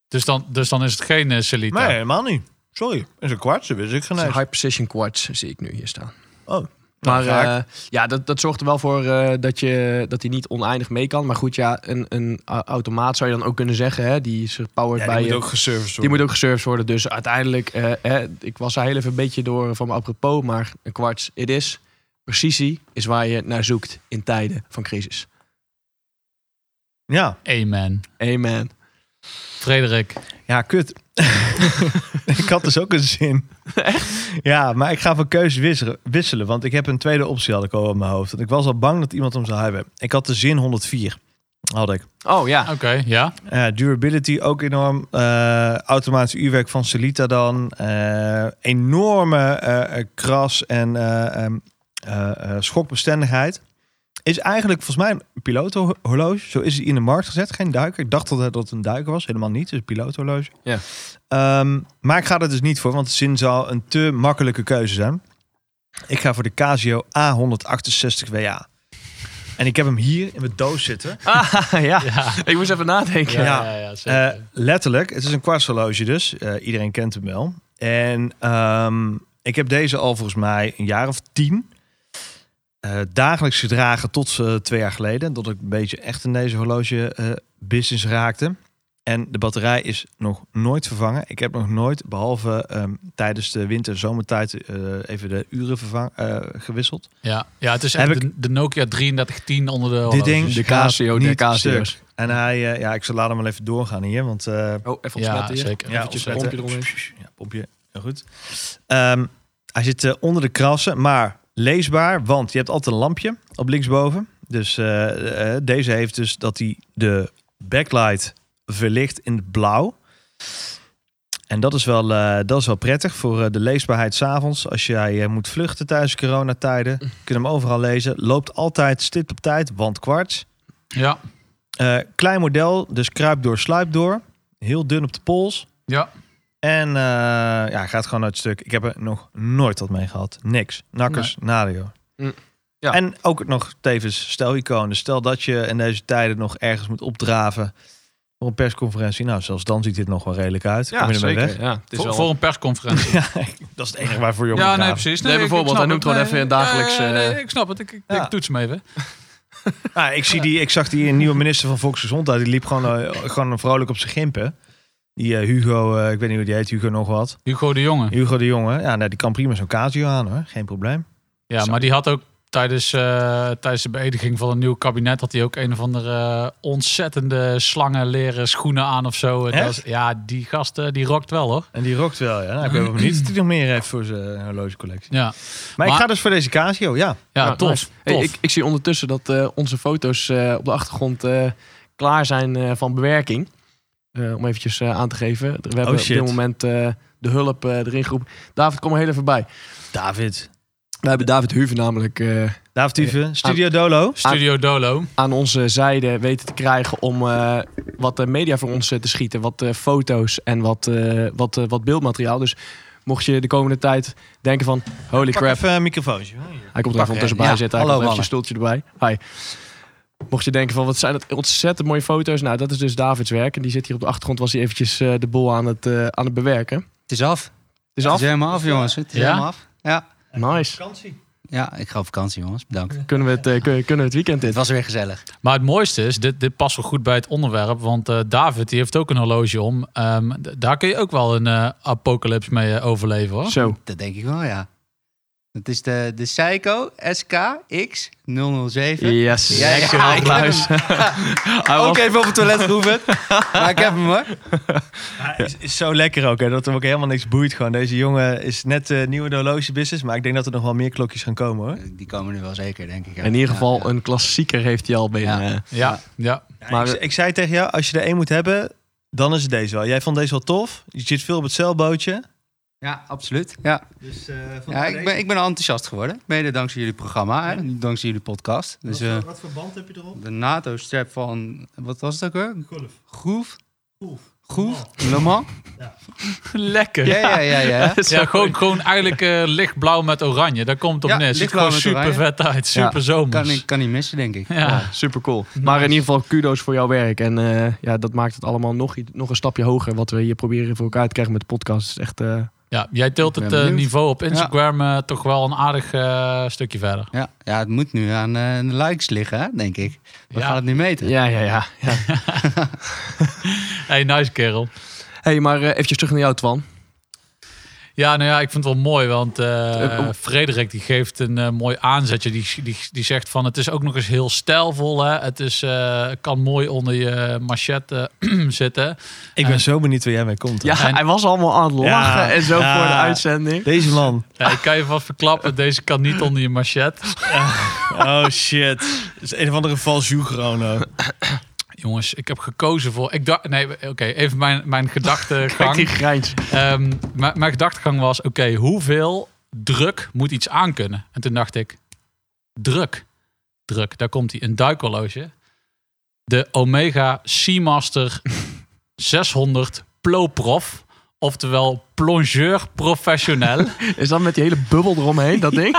[SPEAKER 1] Dus dan, dus dan is het geen eh, Celita.
[SPEAKER 2] nee, helemaal niet. Sorry. Is een kwart, dat wist ik
[SPEAKER 3] het is een
[SPEAKER 2] genezen.
[SPEAKER 3] high precision kwarts zie ik nu hier staan.
[SPEAKER 2] Oh,
[SPEAKER 3] Maar
[SPEAKER 2] gaaf.
[SPEAKER 3] eh, ja, dat, dat zorgt er wel voor eh, dat, je, dat hij niet oneindig mee kan. Maar goed, ja, een, een a- automaat zou je dan ook kunnen zeggen. Hè, die is powered
[SPEAKER 2] ja,
[SPEAKER 3] bij
[SPEAKER 2] die moet
[SPEAKER 3] je.
[SPEAKER 2] ook geserviced
[SPEAKER 3] Die
[SPEAKER 2] worden.
[SPEAKER 3] moet ook geserved worden. Dus uiteindelijk, eh, hè, ik was daar heel even een beetje door van mijn apropos. Maar een kwarts, it is. Precisie is waar je naar zoekt in tijden van crisis.
[SPEAKER 2] Ja.
[SPEAKER 1] Amen.
[SPEAKER 3] Amen.
[SPEAKER 1] Frederik.
[SPEAKER 2] ja, kut. ik had dus ook een zin. Ja, maar ik ga van keuze wisselen, wisselen. Want ik heb een tweede optie had ik al op mijn hoofd. Want ik was al bang dat iemand hem zou hebben. Ik had de zin 104. Had ik.
[SPEAKER 3] Oh ja.
[SPEAKER 1] Oké, ja.
[SPEAKER 2] Eh, durability ook enorm. Eh, automatisch uurwerk van Celita dan. Eh, enorme eh, eh, kras en eh, em, eh, eh, schokbestendigheid. Is eigenlijk volgens mij een pilotenhorloge. Zo is hij in de markt gezet. Geen duiker. Ik dacht dat het dat het een duiker was. Helemaal niet. Het is een pilotenhorloge.
[SPEAKER 3] Ja.
[SPEAKER 2] Ehm, maar ik ga er dus niet voor. Want de zin zou een te makkelijke keuze zijn. Ik ga voor de Casio A168WA. En ik heb hem hier in mijn doos zitten.
[SPEAKER 3] Ah, ja.
[SPEAKER 1] Ja,
[SPEAKER 3] Ik moest even nadenken.
[SPEAKER 1] ja,
[SPEAKER 3] Ja.
[SPEAKER 1] ja, ja, zeker.
[SPEAKER 2] Eh, letterlijk, het is een kwartshorloge dus. Eh, iedereen kent hem wel. En ehm, ik heb deze al volgens mij een jaar of tien. eh, dagelijks gedragen tot eh, twee jaar geleden. Dat ik een beetje echt in deze horloge eh, business raakte. En de batterij is nog nooit vervangen. Ik heb nog nooit, behalve ehm, tijdens de winter- en zomertijd, eh, even de uren vervang, eh, gewisseld.
[SPEAKER 1] ja. ja, het is echt
[SPEAKER 2] heb ik-
[SPEAKER 1] de, de Nokia 3310 onder de
[SPEAKER 2] Dit
[SPEAKER 1] horloges.
[SPEAKER 2] ding,
[SPEAKER 3] de Casio, de
[SPEAKER 2] niet
[SPEAKER 3] Casio's.
[SPEAKER 2] stuk. En hij, eh, ja, ik zal laten hem wel even doorgaan hier, want eh,
[SPEAKER 3] Oh, even
[SPEAKER 1] Ja,
[SPEAKER 3] ontsmetten hier.
[SPEAKER 1] zeker.
[SPEAKER 2] Ja,
[SPEAKER 3] Eventjes
[SPEAKER 2] opzetten.
[SPEAKER 3] een pompje eromheen.
[SPEAKER 2] Ja, pompje. Heel goed. Ehm, hij zit eh, onder de krassen, maar leesbaar, want je hebt altijd een lampje op linksboven. Dus eh, eh, deze heeft dus dat hij de backlight verlicht in het blauw. En dat is wel, eh, dat is wel prettig voor eh, de leesbaarheid s'avonds. Als jij eh, moet vluchten tijdens coronatijden, kun je hem overal lezen. Loopt altijd stipt op tijd, want kwarts.
[SPEAKER 1] Ja,
[SPEAKER 2] Eh, klein model, dus kruip door, sluip door. Heel dun op de pols.
[SPEAKER 1] ja.
[SPEAKER 2] En eh, ja, gaat gewoon uit het stuk. Ik heb er nog nooit wat mee gehad. Niks. Nakkers, nadeel.
[SPEAKER 3] Mm, ja.
[SPEAKER 2] En ook nog tevens stelicoon. Dus stel dat je in deze tijden nog ergens moet opdraven voor een persconferentie. Nou, zelfs dan ziet dit nog wel redelijk uit. Kom je ermee weg?
[SPEAKER 3] Ja, het is
[SPEAKER 1] Voor,
[SPEAKER 3] wel...
[SPEAKER 1] voor een persconferentie.
[SPEAKER 2] Dat is het enige waarvoor je op
[SPEAKER 1] Ja,
[SPEAKER 2] moet
[SPEAKER 1] nee,
[SPEAKER 2] draven.
[SPEAKER 1] precies.
[SPEAKER 3] Nee,
[SPEAKER 1] ik- ik
[SPEAKER 3] bijvoorbeeld,
[SPEAKER 1] snap
[SPEAKER 3] hij
[SPEAKER 1] het.
[SPEAKER 3] noemt gewoon
[SPEAKER 1] Nee,
[SPEAKER 3] even een dagelijks,
[SPEAKER 1] nee, nee,
[SPEAKER 3] eh,
[SPEAKER 1] ik snap het. Ik, ik,
[SPEAKER 2] Ja.
[SPEAKER 1] ik toets hem even.
[SPEAKER 2] Ah, ik, zie die, ik zag die nieuwe minister van Volksgezondheid. Die liep gewoon, eh, gewoon vrolijk op zijn gimpen. Die eh, Hugo, eh, ik weet niet hoe die heet, Hugo nog wat.
[SPEAKER 1] Hugo de Jonge.
[SPEAKER 2] Hugo de Jonge. Ja, nou, die kan prima zo'n Casio aan hoor. Geen probleem.
[SPEAKER 1] Ja, maar die had ook tijdens, eh, tijdens de beëdiging van een nieuw kabinet... had hij ook een of andere eh, ontzettende slangen leren schoenen aan of zo. En
[SPEAKER 2] Echt?
[SPEAKER 1] dat is- ja, die gast eh, die rokt wel, hoor.
[SPEAKER 2] En die rockt wel, ja. Nou, ik ben wel benieuwd wat hij nog meer heeft voor zijn horlogecollectie.
[SPEAKER 1] Ja,
[SPEAKER 2] Maar, ik
[SPEAKER 1] Maar-
[SPEAKER 2] ga dus voor deze Casio, ja.
[SPEAKER 1] ja,
[SPEAKER 3] Ja,
[SPEAKER 1] tof.
[SPEAKER 3] nice.
[SPEAKER 1] tof.
[SPEAKER 3] Hey, ik, ik zie ondertussen dat eh, onze foto's eh, op de achtergrond eh, klaar zijn eh, van bewerking. Eh, om eventjes eh, aan te geven. We hebben
[SPEAKER 1] Oh,
[SPEAKER 3] op
[SPEAKER 2] shit.
[SPEAKER 3] dit moment eh, de hulp eh, erin geroepen. David, kom er heel even bij.
[SPEAKER 2] David.
[SPEAKER 3] We hebben David Huven namelijk eh,
[SPEAKER 2] David Dieven, Studio Dolo.
[SPEAKER 1] Studio Dolo.
[SPEAKER 3] aan onze zijde weten te krijgen om eh, wat eh, media voor ons eh, te schieten. Wat eh, foto's en wat, eh, wat, eh, wat beeldmateriaal. Dus mocht je de komende tijd denken van holy
[SPEAKER 2] Pak
[SPEAKER 3] crap,
[SPEAKER 2] even een microfoontje.
[SPEAKER 3] Hij komt er
[SPEAKER 2] Pak
[SPEAKER 3] even ondertussen
[SPEAKER 2] hem,
[SPEAKER 3] bij
[SPEAKER 2] ja.
[SPEAKER 3] zitten. Hij
[SPEAKER 2] Hallo,
[SPEAKER 3] komt even een stoeltje erbij. Hi. Mocht je denken van wat zijn dat ontzettend mooie foto's. Nou, dat is dus Davids werk. En die zit hier op de achtergrond. Was hij eventjes eh, de boel aan het, eh, aan het bewerken. Het
[SPEAKER 5] Het is af.
[SPEAKER 3] is
[SPEAKER 5] Het
[SPEAKER 3] af.
[SPEAKER 5] is helemaal af, jongens. Het is
[SPEAKER 1] Ja?
[SPEAKER 5] helemaal af. Ja.
[SPEAKER 3] Nice.
[SPEAKER 2] Vakantie.
[SPEAKER 5] ja, ik ga op vakantie, jongens. Bedankt.
[SPEAKER 3] Kunnen we het, eh, kun- kunnen we het weekend in?
[SPEAKER 5] Het was weer gezellig.
[SPEAKER 1] Maar het mooiste is, dit, dit past wel goed bij het onderwerp. Want eh, David, die heeft ook een horloge om. Ehm, d- daar kun je ook wel een eh apocalypse mee eh, overleven hoor.
[SPEAKER 3] Zo.
[SPEAKER 5] Dat denk ik wel, ja. Dat is de, de Seiko SKX007.
[SPEAKER 3] Yes.
[SPEAKER 5] Ja, ja,
[SPEAKER 3] Dankjewel,
[SPEAKER 5] ik
[SPEAKER 3] Kluis. Hij was-
[SPEAKER 5] Ook even op het toilet geoefend. maar ik heb hem hoor.
[SPEAKER 2] is, is zo lekker ook, hè, dat hem ook helemaal niks boeit. Gewoon. Deze jongen is net eh nieuw in de horlogebusiness, maar ik denk dat er nog wel meer klokjes gaan komen hoor.
[SPEAKER 5] Die komen nu wel zeker, denk ik.
[SPEAKER 3] In ieder geval
[SPEAKER 5] Ja,
[SPEAKER 3] een klassieker heeft hij al binnen.
[SPEAKER 5] Ja.
[SPEAKER 1] Ja, ja.
[SPEAKER 3] Maar-
[SPEAKER 2] maar, ik, ik zei tegen jou, als je er één moet hebben, dan is het deze wel. Jij vond deze wel tof, je zit veel op het zeilbootje.
[SPEAKER 5] Ja, absoluut. Ja.
[SPEAKER 2] Dus,
[SPEAKER 5] Ja, ik, ben, ik ben al enthousiast geworden. Mede dankzij jullie programma en dankzij jullie podcast. Dus, eh,
[SPEAKER 2] voor band heb je erop?
[SPEAKER 5] de NATO-strap van, wat was het ook hoor?
[SPEAKER 2] Golf.
[SPEAKER 5] Groef? Groef? Le Mans?
[SPEAKER 1] Lekker.
[SPEAKER 5] Ja, ja, ja. ja.
[SPEAKER 1] Ja, gewoon, gewoon eigenlijk eh, lichtblauw met oranje. Daar komt het op
[SPEAKER 5] Ja,
[SPEAKER 1] neer. Het Ziet
[SPEAKER 5] lichtblauw
[SPEAKER 1] gewoon
[SPEAKER 5] met
[SPEAKER 1] super vet uit. Super
[SPEAKER 5] Kan,
[SPEAKER 1] zomers.
[SPEAKER 5] ik- kan niet missen, denk ik.
[SPEAKER 1] Ja.
[SPEAKER 3] super cool. Maar in ieder geval kudo's voor jouw werk. En eh, ja, dat maakt het allemaal nog, i- nog een stapje hoger. Wat we hier proberen voor elkaar te krijgen met de podcast. Het is echt, eh,
[SPEAKER 1] ja, jij tilt
[SPEAKER 5] Ik
[SPEAKER 1] het
[SPEAKER 5] ben
[SPEAKER 1] eh,
[SPEAKER 5] benieuwd.
[SPEAKER 1] niveau op Instagram eh, toch wel een aardig eh, stukje verder.
[SPEAKER 5] Ja, ja het moet nu aan eh, de likes liggen, hè, denk ik. We
[SPEAKER 1] Ja.
[SPEAKER 5] gaan het nu meten.
[SPEAKER 3] ja, ja, ja. ja.
[SPEAKER 1] Hey, nice kerel.
[SPEAKER 3] hey, maar even eventjes terug naar jou, Twan.
[SPEAKER 1] Ja, nou ja, ik vind het wel mooi, want eh,
[SPEAKER 3] Eh, oh.
[SPEAKER 1] Frederik die geeft een eh, mooi aanzetje. Die, die, die zegt van, het is ook nog eens heel stijlvol. Hè? Het is, eh, kan mooi onder je machette zitten.
[SPEAKER 2] Ik ben zo benieuwd waar jij mee komt. hoor.
[SPEAKER 3] Ja, hij was allemaal aan het lachen
[SPEAKER 2] Ja,
[SPEAKER 3] en zo
[SPEAKER 2] ja.
[SPEAKER 3] voor de uitzending.
[SPEAKER 2] Deze man.
[SPEAKER 1] Ja, ik kan je vast verklappen, deze kan niet onder je machette.
[SPEAKER 2] Oh shit. Dat is een of andere valsjoe Grono.
[SPEAKER 1] Jongens, ik heb gekozen voor... Ik dacht, nee, oké, even mijn, mijn
[SPEAKER 3] Kijk die
[SPEAKER 1] gedachtegang.
[SPEAKER 3] grijns.
[SPEAKER 1] Ehm, mijn, mijn gedachtegang was, oké, hoeveel druk moet iets aankunnen? En toen dacht ik, druk, druk, daar komt hij, een duikhorloge. De Omega Seamaster 600 Ploprof, oftewel plongeur professionel.
[SPEAKER 3] Is dat met die hele bubbel eromheen, dat ding?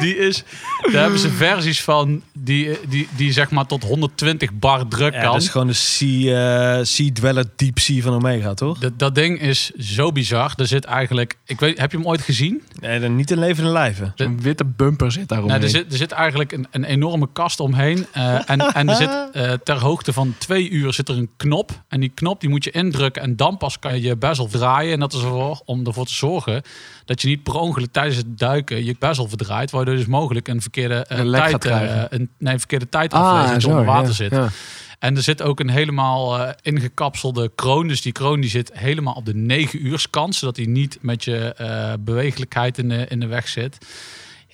[SPEAKER 1] Die is, daar hebben ze versies van die, die, die zeg maar tot 120 bar druk
[SPEAKER 2] Ja, dus
[SPEAKER 1] kan.
[SPEAKER 2] dat is gewoon de sea, eh sea dweller deep sea van Omega, toch?
[SPEAKER 1] dat, dat ding is zo bizar. Er zit eigenlijk, ik weet, heb je hem ooit gezien?
[SPEAKER 2] Nee, dan niet in levende lijven.
[SPEAKER 3] Een witte bumper zit daaromheen.
[SPEAKER 1] Nou, er, zit, er zit eigenlijk een, een enorme kast omheen. eh, en, en er zit eh, ter hoogte van twee uur zit er een knop. En die knop die moet je indrukken. En dan pas kan je je bezel draaien. En dat is ervoor, om ervoor te zorgen dat je niet per ongeluk tijdens het duiken je bezel verdraait. Waardoor je dus mogelijk een verkeerde, eh,
[SPEAKER 3] Een lek gaat
[SPEAKER 1] tijd, eh,
[SPEAKER 3] krijgen. Ah,
[SPEAKER 1] een, nee, een verkeerde tijd afleest. dat je onder water
[SPEAKER 3] ja,
[SPEAKER 1] zit.
[SPEAKER 3] ja.
[SPEAKER 1] En er zit ook een helemaal eh, ingekapselde kroon. Dus die kroon die zit helemaal op de 9 uurskant. Zodat hij niet met je eh, bewegelijkheid in de, in de weg zit.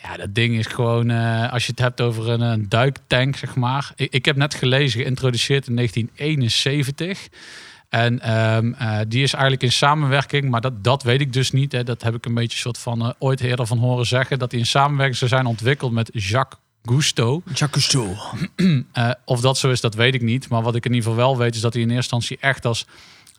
[SPEAKER 1] Ja, dat ding is gewoon... eh, als je het hebt over een, eh, duiktank, zeg maar. Ik, ik heb net gelezen, geïntroduceerd in 1971... En ehm, eh, die is eigenlijk in samenwerking, maar dat, dat weet ik dus niet. Hè. Dat heb ik een beetje soort van eh, ooit eerder van horen zeggen. Dat die in samenwerking zou zijn ontwikkeld met Jacques Gusto.
[SPEAKER 2] Jacques
[SPEAKER 1] Eh, of dat zo is, dat weet ik niet. Maar wat ik in ieder geval wel weet, is dat hij in eerste instantie echt als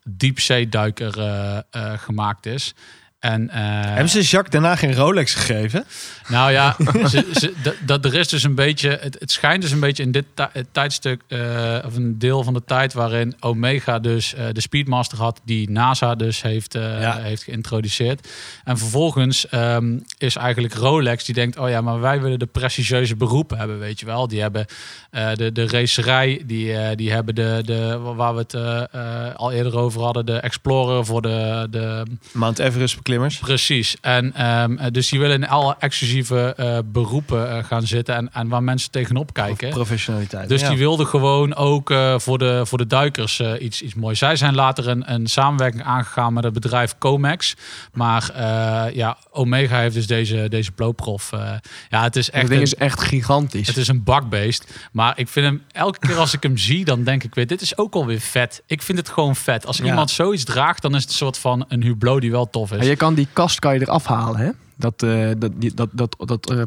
[SPEAKER 1] diepzeeduiker eh, eh, gemaakt is. En, eh,
[SPEAKER 2] Hebben ze Jacques daarna geen Rolex gegeven?
[SPEAKER 1] nou ja, ze, ze- dat- dat er is dus een beetje. Het, het schijnt dus een beetje in dit ti- het tijdstuk. eh, of een deel van de tijd. waarin Omega dus eh, de Speedmaster had. die NASA dus heeft, eh,
[SPEAKER 2] Ja.
[SPEAKER 1] heeft geïntroduceerd. En vervolgens ehm, is eigenlijk Rolex die denkt. oh ja, maar wij willen de prestigieuze beroepen hebben, weet je wel. Die hebben eh, de, de racerij. Die, eh, die hebben de, de. waar we het eh, eh, al eerder over hadden. de Explorer voor de. de
[SPEAKER 2] Mount Everest beklimmers.
[SPEAKER 1] Precies. En ehm, eh, dus die willen in alle exclusieve eh, beroepen eh, gaan zitten en, en waar mensen tegenop kijken.
[SPEAKER 2] Professionaliteit.
[SPEAKER 1] Dus
[SPEAKER 2] ja.
[SPEAKER 1] die wilden gewoon ook eh, voor, de, voor de duikers eh, iets, iets moois. Zij zijn later een, een samenwerking aangegaan met het bedrijf Comex. Maar eh, ja, Omega heeft dus deze, deze Ploprof. eh, ja, het is
[SPEAKER 3] Dat
[SPEAKER 1] echt
[SPEAKER 3] ding
[SPEAKER 1] een,
[SPEAKER 3] is echt gigantisch.
[SPEAKER 1] het is een bakbeest. Maar ik vind hem elke keer als ik hem zie, dan denk ik weer, dit is ook alweer vet. Ik vind het gewoon vet. Als iemand zoiets draagt, dan is het een soort van een hublot die wel tof is.
[SPEAKER 3] Ja, je kan die kast kan je eraf halen, hè? Dat, eh, dat, die- dat, dat, dat eh,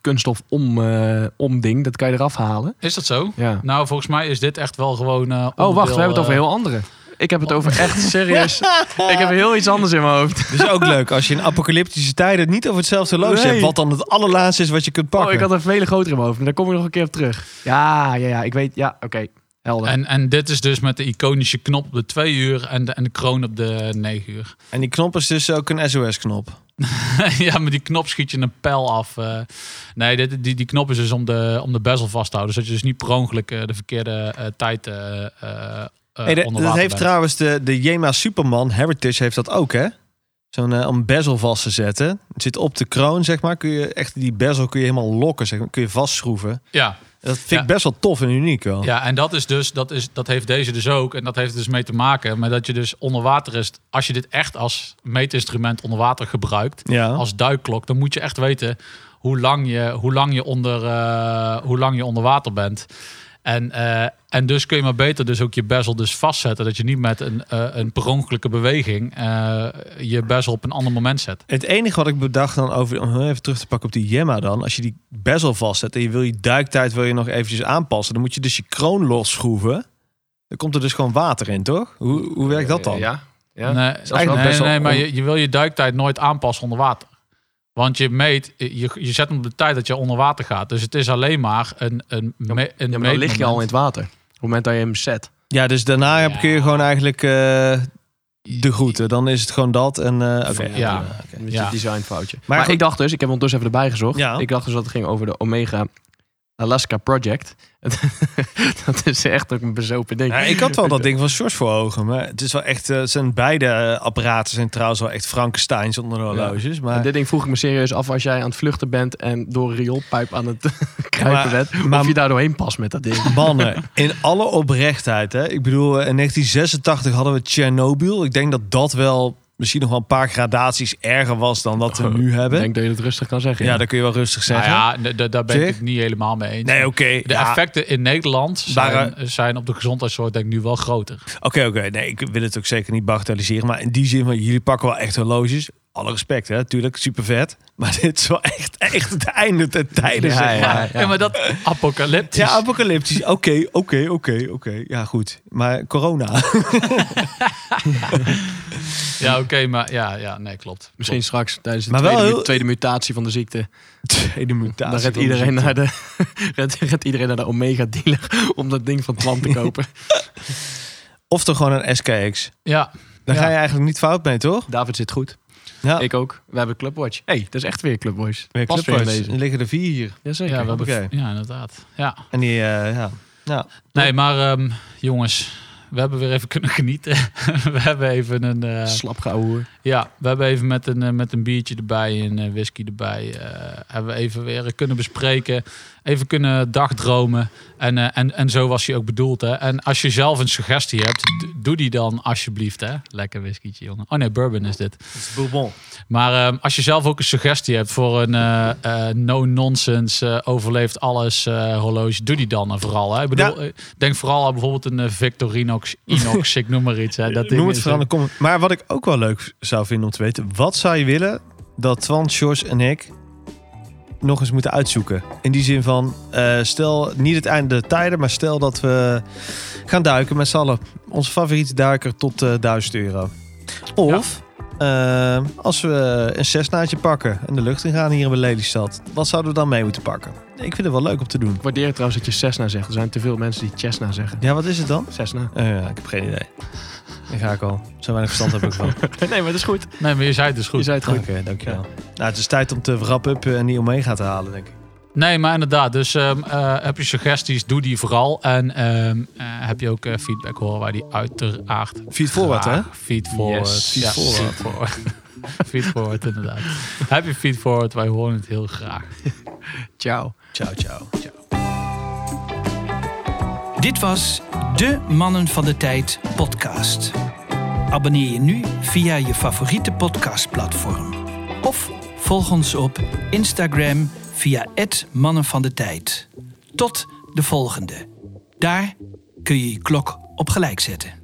[SPEAKER 3] kunststof om, eh, omding, dat kan je eraf halen.
[SPEAKER 1] Is dat zo?
[SPEAKER 3] Ja.
[SPEAKER 1] Nou, volgens mij is dit echt wel gewoon. eh,
[SPEAKER 3] Oh, wacht,
[SPEAKER 1] onderdeel,
[SPEAKER 3] we hebben het over
[SPEAKER 1] eh,
[SPEAKER 3] heel andere. Ik heb het over echt serieus. Ik heb heel iets anders in mijn hoofd.
[SPEAKER 2] Dus ook leuk als je in apocalyptische tijden niet over hetzelfde loos
[SPEAKER 3] Nee.
[SPEAKER 2] hebt. Wat dan het allerlaatste is wat je kunt pakken.
[SPEAKER 3] Oh, ik had een vele groter in mijn hoofd, maar daar kom ik nog een keer op terug. Ja, ja, ja, ik weet. Ja, oké. Helder.
[SPEAKER 1] En, en dit is dus met de iconische knop op de 2 uur en de, en de kroon op de 9 uur.
[SPEAKER 2] En die knop is dus ook een SOS-knop.
[SPEAKER 1] ja, met die knop schiet je een pijl af. eh. nee, dit, die, die knop is dus om de, om de bezel vast te houden. Zodat je dus niet per ongeluk eh, de verkeerde eh, tijd eh eh, eh,
[SPEAKER 2] Hey, de-
[SPEAKER 1] onder
[SPEAKER 2] dat
[SPEAKER 1] water
[SPEAKER 2] heeft
[SPEAKER 1] bent.
[SPEAKER 2] trouwens de, de Jema Superman Heritage heeft dat ook, hè? zo'n eh, om bezel vast te zetten. Het zit op de kroon, zeg maar. Kun je echt die bezel kun je helemaal lokken, zeg maar. Kun je vastschroeven.
[SPEAKER 1] Ja,
[SPEAKER 2] Dat vind
[SPEAKER 1] Ja.
[SPEAKER 2] ik best wel tof en uniek wel.
[SPEAKER 1] Ja, en dat is dus, dat, is, dat heeft deze dus ook. En dat heeft er dus mee te maken. Maar dat je dus onder water is, als je dit echt als meetinstrument onder water gebruikt,
[SPEAKER 2] Ja.
[SPEAKER 1] als duikklok, dan moet je echt weten hoe lang je, hoe lang je, onder, eh, hoe lang je onder water bent. En, eh, en dus kun je maar beter dus ook je bezel dus vastzetten. Dat je niet met een, eh, een per ongelukte beweging eh, je bezel op een ander moment zet.
[SPEAKER 2] Het enige wat ik bedacht dan over, om heel even terug te pakken op die Jemma dan, als je die bezel vastzet en je wil je duiktijd wil je nog eventjes aanpassen, dan moet je dus je kroon losschroeven. Dan komt er dus gewoon water in, toch? Hoe, hoe werkt dat dan?
[SPEAKER 3] Ja. ja.
[SPEAKER 1] Nee,
[SPEAKER 3] wel
[SPEAKER 1] nee,
[SPEAKER 3] best wel
[SPEAKER 1] nee, maar
[SPEAKER 3] on-
[SPEAKER 1] je, je wil je duiktijd nooit aanpassen onder water. Want je meet, je, je zet hem op de tijd dat je onder water gaat. Dus het is alleen maar een, een, me, een
[SPEAKER 3] Ja, maar dan lig je al in
[SPEAKER 1] meetmoment.
[SPEAKER 3] het water. Op het moment dat je hem zet.
[SPEAKER 2] Ja, dus daarna heb kun je gewoon eigenlijk eh, de groeten. Dan is het gewoon dat en... eh, oké.
[SPEAKER 1] Ja.
[SPEAKER 3] Met je
[SPEAKER 1] Ja.
[SPEAKER 3] designfoutje. Maar,
[SPEAKER 2] Maar goed-
[SPEAKER 3] ik dacht dus, ik heb ondertussen even erbij gezocht.
[SPEAKER 2] Ja.
[SPEAKER 3] Ik dacht dus dat het ging over de Omega Alaska Project. dat is echt ook een bezopen ding.
[SPEAKER 2] Ja, ik had wel dat ding van George voor ogen, maar het is wel echt... eh, het zijn beide eh, apparaten zijn trouwens wel echt Frankensteins onder de horloges,
[SPEAKER 3] En
[SPEAKER 2] maar...
[SPEAKER 3] dit ding vroeg ik me serieus af als jij aan het vluchten bent en door een rioolpijp aan het kruipen
[SPEAKER 2] Maar-
[SPEAKER 3] bent.
[SPEAKER 2] maar-
[SPEAKER 3] of je daar doorheen past met dat ding.
[SPEAKER 2] Mannen, in alle oprechtheid. Hè? Ik bedoel, eh, in 1986 hadden we Tsjernobyl. Ik denk dat dat wel misschien nog wel een paar gradaties erger was dan wat we nu
[SPEAKER 3] Ik
[SPEAKER 2] hebben.
[SPEAKER 3] denk dat je het rustig kan zeggen.
[SPEAKER 2] ja, dat kun je wel rustig
[SPEAKER 1] Nou
[SPEAKER 2] zeggen.
[SPEAKER 1] ja, d- d- daar ben ik
[SPEAKER 2] Zeg?
[SPEAKER 1] het niet helemaal mee eens.
[SPEAKER 2] Nee, oké.
[SPEAKER 1] De
[SPEAKER 2] ja,
[SPEAKER 1] effecten in Nederland zijn,
[SPEAKER 2] Waren-
[SPEAKER 1] zijn op de gezondheidszorg denk ik nu wel groter.
[SPEAKER 2] Oké, oké. Nee, ik wil het ook zeker niet bagatelliseren. Maar in die zin van, jullie pakken wel echt horloges. Alle respect, hè. Tuurlijk, super vet. Maar dit is wel echt, echt het einde ten tijde,
[SPEAKER 3] Ja,
[SPEAKER 2] zeg maar.
[SPEAKER 3] ja.
[SPEAKER 1] Ja, maar dat apocalyptisch.
[SPEAKER 2] Ja, apocalyptisch. Oké, oké, oké, oké. Ja, goed. Maar corona.
[SPEAKER 1] Ja, oké, maar ja, ja, nee, klopt.
[SPEAKER 3] Misschien straks tijdens de
[SPEAKER 2] Maar wel
[SPEAKER 3] tweede, mu-
[SPEAKER 2] heel-
[SPEAKER 3] tweede mutatie van de ziekte.
[SPEAKER 2] Tweede mutatie.
[SPEAKER 3] dan
[SPEAKER 2] van de
[SPEAKER 3] redt
[SPEAKER 2] ziekte.
[SPEAKER 3] iedereen, naar de, redt, redt iedereen naar de Omega dealer om dat ding van het land te kopen.
[SPEAKER 2] Of toch gewoon een SKX.
[SPEAKER 1] Ja,
[SPEAKER 2] Daar
[SPEAKER 1] Ja.
[SPEAKER 2] ga je eigenlijk niet fout mee, toch?
[SPEAKER 3] David zit goed.
[SPEAKER 2] Ja.
[SPEAKER 3] Ik ook. We hebben Clubwatch. hey, dat is echt weer Clubwatch.
[SPEAKER 2] Weer
[SPEAKER 3] Pas weer in
[SPEAKER 2] clubcoach.
[SPEAKER 3] deze.
[SPEAKER 2] Er liggen er vier hier.
[SPEAKER 3] Jazeker.
[SPEAKER 1] ja, we hebben,
[SPEAKER 2] hoppakee.
[SPEAKER 1] ja, inderdaad. Ja.
[SPEAKER 2] En die, eh, ja. ja.
[SPEAKER 1] Nee, maar ehm, jongens, we hebben weer even kunnen genieten. we hebben even een. eh,
[SPEAKER 3] Slap geouwe.
[SPEAKER 1] ja, we hebben even met een, eh, met een biertje erbij en eh, whisky erbij. eh, hebben we even weer kunnen bespreken. Even kunnen dagdromen. En, eh, en, en zo was hij ook bedoeld. Hè? En als je zelf een suggestie hebt, d- doe die dan alsjeblieft. Hè? Lekker whiskytje, jongen. Oh nee, bourbon is dit.
[SPEAKER 2] Bourbon.
[SPEAKER 1] Maar ehm, als je zelf ook een suggestie hebt voor een eh, eh, no-nonsense, eh, overleeft alles eh, horloge, doe die dan eh, vooral. Hè? Ik bedoel, eh, denk vooral aan bijvoorbeeld een eh, Victorinox, Inox, ik noem maar iets. Hè. Dat ding
[SPEAKER 2] Noem het
[SPEAKER 1] is,
[SPEAKER 2] vooral een comment. Maar wat ik ook wel leuk zou vinden om te weten. Wat zou je willen dat Twan, George en ik nog eens moeten uitzoeken? In die zin van, eh, stel niet het einde der tijden, maar stel dat we gaan duiken met z'n allen. Onze favoriete duiker tot eh 1000 euro. Of eh, als we een zesnaadje pakken en de lucht in gaan hier in Lelystad. Wat zouden we dan mee moeten pakken? Ik vind het wel leuk om te doen.
[SPEAKER 3] Ik waardeer trouwens dat je Cessna zegt. Er zijn te veel mensen die Cessna zeggen.
[SPEAKER 2] Ja, wat is het dan?
[SPEAKER 3] Cessna.
[SPEAKER 2] Eh, ja, ik heb geen idee. Daar ga ik al. Zo weinig verstand heb ik van.
[SPEAKER 3] Nee, maar dat is goed.
[SPEAKER 1] eh, Nee, maar je zei het dus
[SPEAKER 3] Je
[SPEAKER 1] goed.
[SPEAKER 3] zei het goed.
[SPEAKER 2] Oké, dankjewel. Nou, het is tijd om te wrap-up en die Omega te halen, denk ik.
[SPEAKER 1] Nee, maar inderdaad. Dus ehm, eh, heb je suggesties, doe die vooral. En ehm, eh, heb je ook eh, feedback horen waar die uiteraard
[SPEAKER 2] Feed forward, hè?
[SPEAKER 1] graag Feed forward.
[SPEAKER 3] Yes.
[SPEAKER 1] Ja,
[SPEAKER 2] Feed
[SPEAKER 1] feed forward. feed forward, inderdaad. Heb je feed forward, wij horen het heel graag.
[SPEAKER 3] Ciao.
[SPEAKER 2] Ciao, ciao.
[SPEAKER 4] Dit was de Mannen van de Tijd podcast. Abonneer je nu via je favoriete podcastplatform. Of volg ons op Instagram via het Mannen van de Tijd. Tot de volgende. Daar kun je je klok op gelijk zetten.